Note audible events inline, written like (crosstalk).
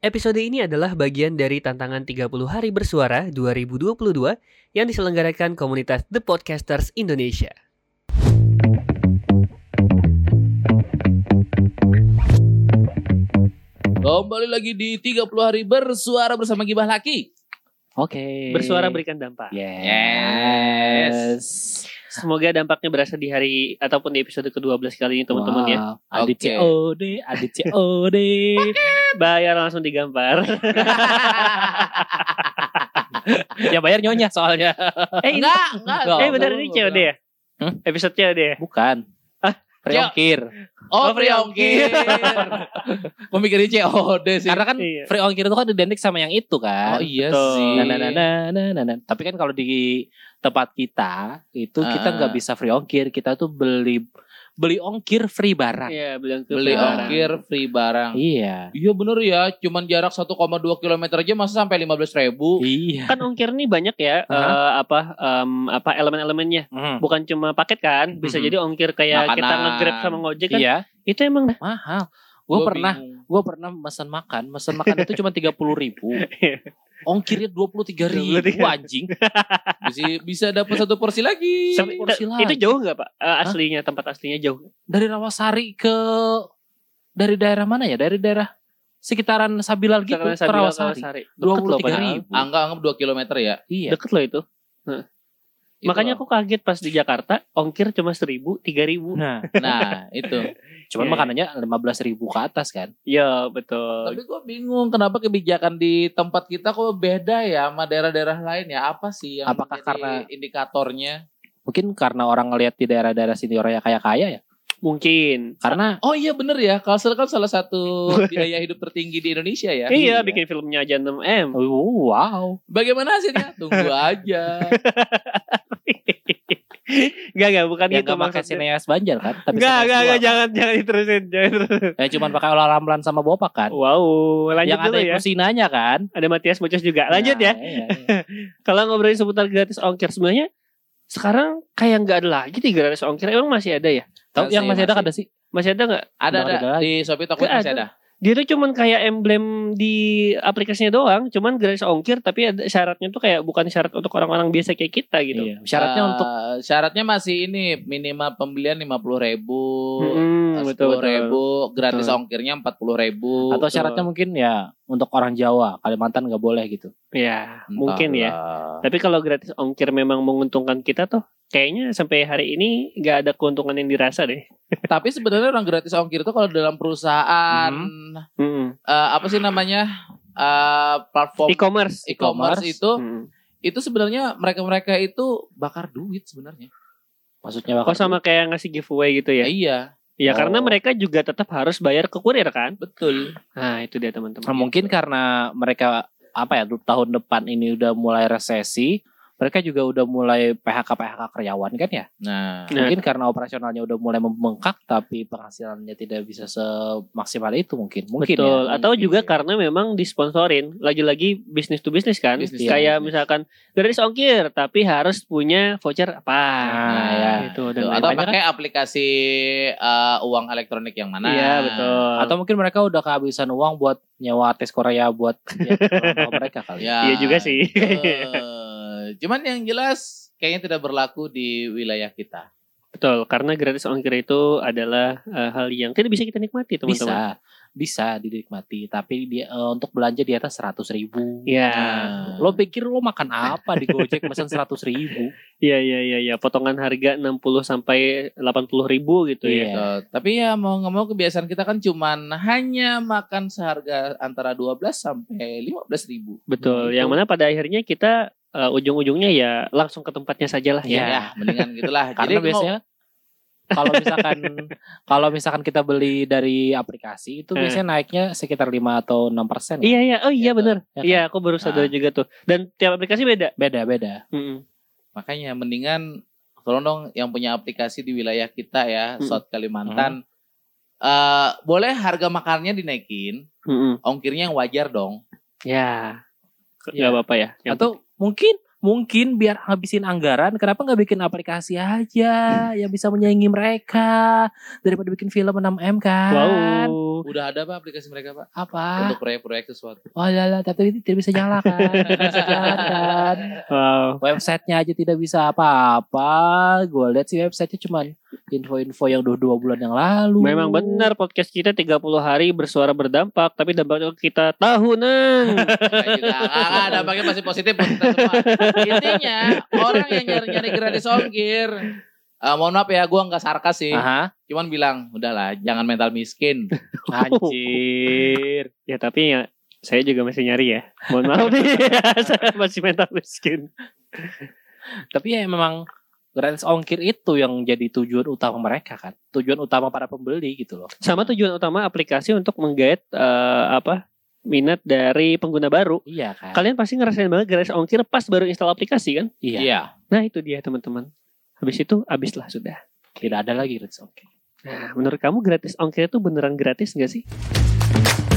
Episode ini adalah bagian dari tantangan 30 hari bersuara 2022 yang diselenggarakan komunitas The Podcasters Indonesia. Kembali lagi di 30 hari bersuara bersama Gibah Laki. Oke. Bersuara berikan Iya. dampak. Yes. Semoga dampaknya berasa di hari ataupun di episode ke-12 kali ini teman-teman ya. Wow. Adit Oke. COD, Adit COD. Bayar langsung digampar. ya (laughs) bayar nyonya soalnya. eh ini Enggak, enggak. Oh, Enggak. eh benar ini COD ya? Hmm? Episode COD ya? Bukan. Priongkir. Oh, free ongkir. Gua mikirin COD sih. Karena kan (laughs) Iya. free ongkir itu kan identik sama yang itu oh kan. iya Betul. sih. Nah, nah, nah, nah, nah, nah, nah. Tapi kan kalau di tempat kita itu kita Ah. nggak bisa free ongkir, kita tuh beli beli ongkir free barang. Iya, bilang ke Nah, Beli orang. ongkir free barang. Iya. Iya bener ya, cuman jarak 1,2 km aja masa sampai 15 ribu. Iya. Kan ongkir ini banyak ya Hah? eh, apa em, apa elemen-elemennya. Mm. Bukan cuma paket kan, bisa Mhm. jadi ongkir kayak kita Makanan. nge-grab sama Gojek kan. Iya. Itu emang Mahal. Gue pernah gue pernah pesan makan, pesan makan itu cuma tiga puluh (laughs) ribu, ongkirnya Iya. dua puluh tiga ribu 23.000. anjing. bisa, bisa dapat satu porsi lagi. Iya. Tapi Kursi itu- lagi. Itu jauh nggak pak? Eh, aslinya tempat aslinya jauh. Dari Rawasari ke dari daerah mana ya? Dari daerah sekitaran Sabilal gitu Sekitaran ke Sabilal, Rawasari. Rawasari. Dua Deket puluh loh, tiga padahal. Ah, ribu. Anggap anggap 2 km ya. Iya. Deket loh itu. Itu Makanya loh. aku kaget pas di Jakarta ongkir cuma seribu, tiga ribu. Nah, nah, itu. cuman Iya. makanannya lima belas ribu ke atas kan? Ya betul. Tapi gue bingung kenapa kebijakan di tempat kita kok beda ya sama daerah-daerah lain ya? Apa sih yang Apakah menjadi karena- indikatornya? Mungkin karena orang ngelihat di daerah-daerah sini orang yang kaya-kaya ya. Mungkin. Karena Oh iya bener ya, kalsel kan salah (laughs) satu biaya hidup tertinggi di Indonesia ya. Iya, iya. bikin filmnya aja 6 M. Oh, wow, Bagaimana hasilnya? Tunggu (laughs) aja. Gak gak bukan yang gitu gak Ya, pakai maksudnya. sineas banjar kan? Tapi Gak sineas gak tua. gak jangan jangan diterusin jangan diterusin. Ya cuman pakai olah ramlan sama bopak kan? Wow, lanjut yang ada dulu ya. kursinanya kan? Ada Matias Bocos juga. Lanjut ya. Iya, iya. Kalau ngobrolin seputar gratis ongkir sebenarnya sekarang kayak nggak ada lagi tiga gratis ongkir. Emang masih ada ya? Tahu yang Masih, masih ada masih. kan ada sih? Masih ada nggak? Ada Nggak ada, ada lagi. di Shopee Toko Nggak masih ada. ada. dia tuh cuman kayak emblem di aplikasinya doang, cuman gratis ongkir tapi ada syaratnya tuh kayak bukan syarat untuk orang-orang biasa kayak kita gitu. Iya. Syaratnya Eh, untuk syaratnya masih ini minimal pembelian lima puluh ribu, Hmm, betul betul. ribu, gratis Betul. ongkirnya empat puluh ribu. atau syaratnya mungkin ya untuk orang Jawa, Kalimantan nggak boleh gitu. Eh, Ya, mungkin ya. Tapi kalau gratis ongkir memang menguntungkan kita tuh, kayaknya sampai hari ini nggak ada keuntungan yang dirasa deh. Tapi sebenarnya orang gratis ongkir itu kalau dalam perusahaan Hmm. eh, apa sih namanya Eh, platform E-commerce. e-commerce itu Hmm. itu sebenarnya mereka-mereka itu bakar duit sebenarnya. Maksudnya bakal Oh sama kayak ngasih giveaway gitu Ya, ya? iya, Ya karena Oh. mereka juga tetap harus bayar ke kurir kan? betul. Nah itu dia teman-teman. Nah, mungkin karena mereka apa ya tahun depan ini udah mulai resesi, mereka juga udah mulai PHK PHK karyawan kan ya. Nah, Nah. Mungkin karena operasionalnya udah mulai membengkak tapi penghasilannya tidak bisa semaksimal itu mungkin. Mungkin Betul. ya. Atau mungkin juga ya. karena memang disponsorin. Lagi-lagi bisnis to bisnis kan. Bisnis to Kayak bisnis. misalkan gratis ongkir tapi harus punya voucher apa. Nah, ya. Gitu dan lain-lain. Tuh, iya. atau makanya pakai aplikasi eh, uang elektronik yang mana? Iya, betul. Atau mungkin mereka udah kehabisan uang buat nyewa artis Korea buat (laughs) ya, ulang tahun mereka kali. Ya, Iya juga sih. eh, cuman yang jelas kayaknya tidak berlaku di wilayah kita. (laughs) Betul. Karena gratis ongkir itu adalah eh, hal yang tidak bisa kita nikmati, teman-teman. bisa bisa dinikmati tapi dia eh, untuk belanja di atas seratus ribu Iya. Nah, lo pikir lo makan apa di Gojek pesan seratus ribu Iya, iya, iya, iya. Potongan harga 60 sampai 80 ribu gitu ya. Iya. Tuh, tapi ya mau nggak mau kebiasaan kita kan cuman hanya makan seharga antara 12 sampai 15 ribu. Betul. Betul. Yang mana pada akhirnya kita eh, ujung-ujungnya ya langsung ke tempatnya sajalah Ya, ya. mendingan gitulah. (laughs) karena Jadi biasanya kalau misalkan kalau misalkan kita beli dari aplikasi itu Eh. biasanya naiknya sekitar 5 atau 6 persen ya? Iya, iya. Oh iya Iya, benar. kan? Iya, aku baru sadar Nah. juga tuh. Dan tiap aplikasi beda. beda beda Mm-mm. Makanya mendingan tolong dong yang punya aplikasi di wilayah kita ya, Mm. South Kalimantan. Eh, boleh harga makannya dinaikin, Mm-mm. ongkirnya yang wajar dong. Ya. Gak Iya. apa-apa ya. Yang atau mungkin mungkin biar habisin anggaran kenapa nggak bikin aplikasi aja yang bisa menyaingi mereka daripada bikin film 6M kan Wow. Udah ada pak aplikasi mereka pak? apa Untuk proyek-proyek (laughs) sesuatu. oh lala tapi itu tidak bisa nyala kan tidak bisa jalan kan Wow. websitenya aja tidak bisa apa-apa gue lihat sih websitenya cuman info-info yang udah dua bulan yang lalu Memang benar podcast kita 30 hari bersuara berdampak tapi dampaknya ke kita (laughs) tahunan. gitu. Enggak, dampaknya masih positif buat kita semua. Intinya orang yang nyari-nyari gratis ongkir. Eh mohon maaf ya, gue nggak sarkas sih. Aha, Cuman bilang, udahlah, jangan mental miskin. (laughs) Anjir. Ya tapi ya saya juga masih nyari ya. Mohon maaf nih. (laughs) saya masih mental miskin. tapi ya memang gratis ongkir itu yang jadi tujuan utama mereka kan tujuan utama para pembeli gitu loh Sama tujuan utama aplikasi untuk menggait eh, apa? minat dari pengguna baru. iya kan Kalian pasti ngerasain banget gratis ongkir pas baru install aplikasi kan? iya Iya. Nah, itu dia teman-teman. Habis itu habislah sudah. tidak ada lagi gratis ongkir Nah, menurut kamu gratis ongkir itu beneran gratis nggak sih?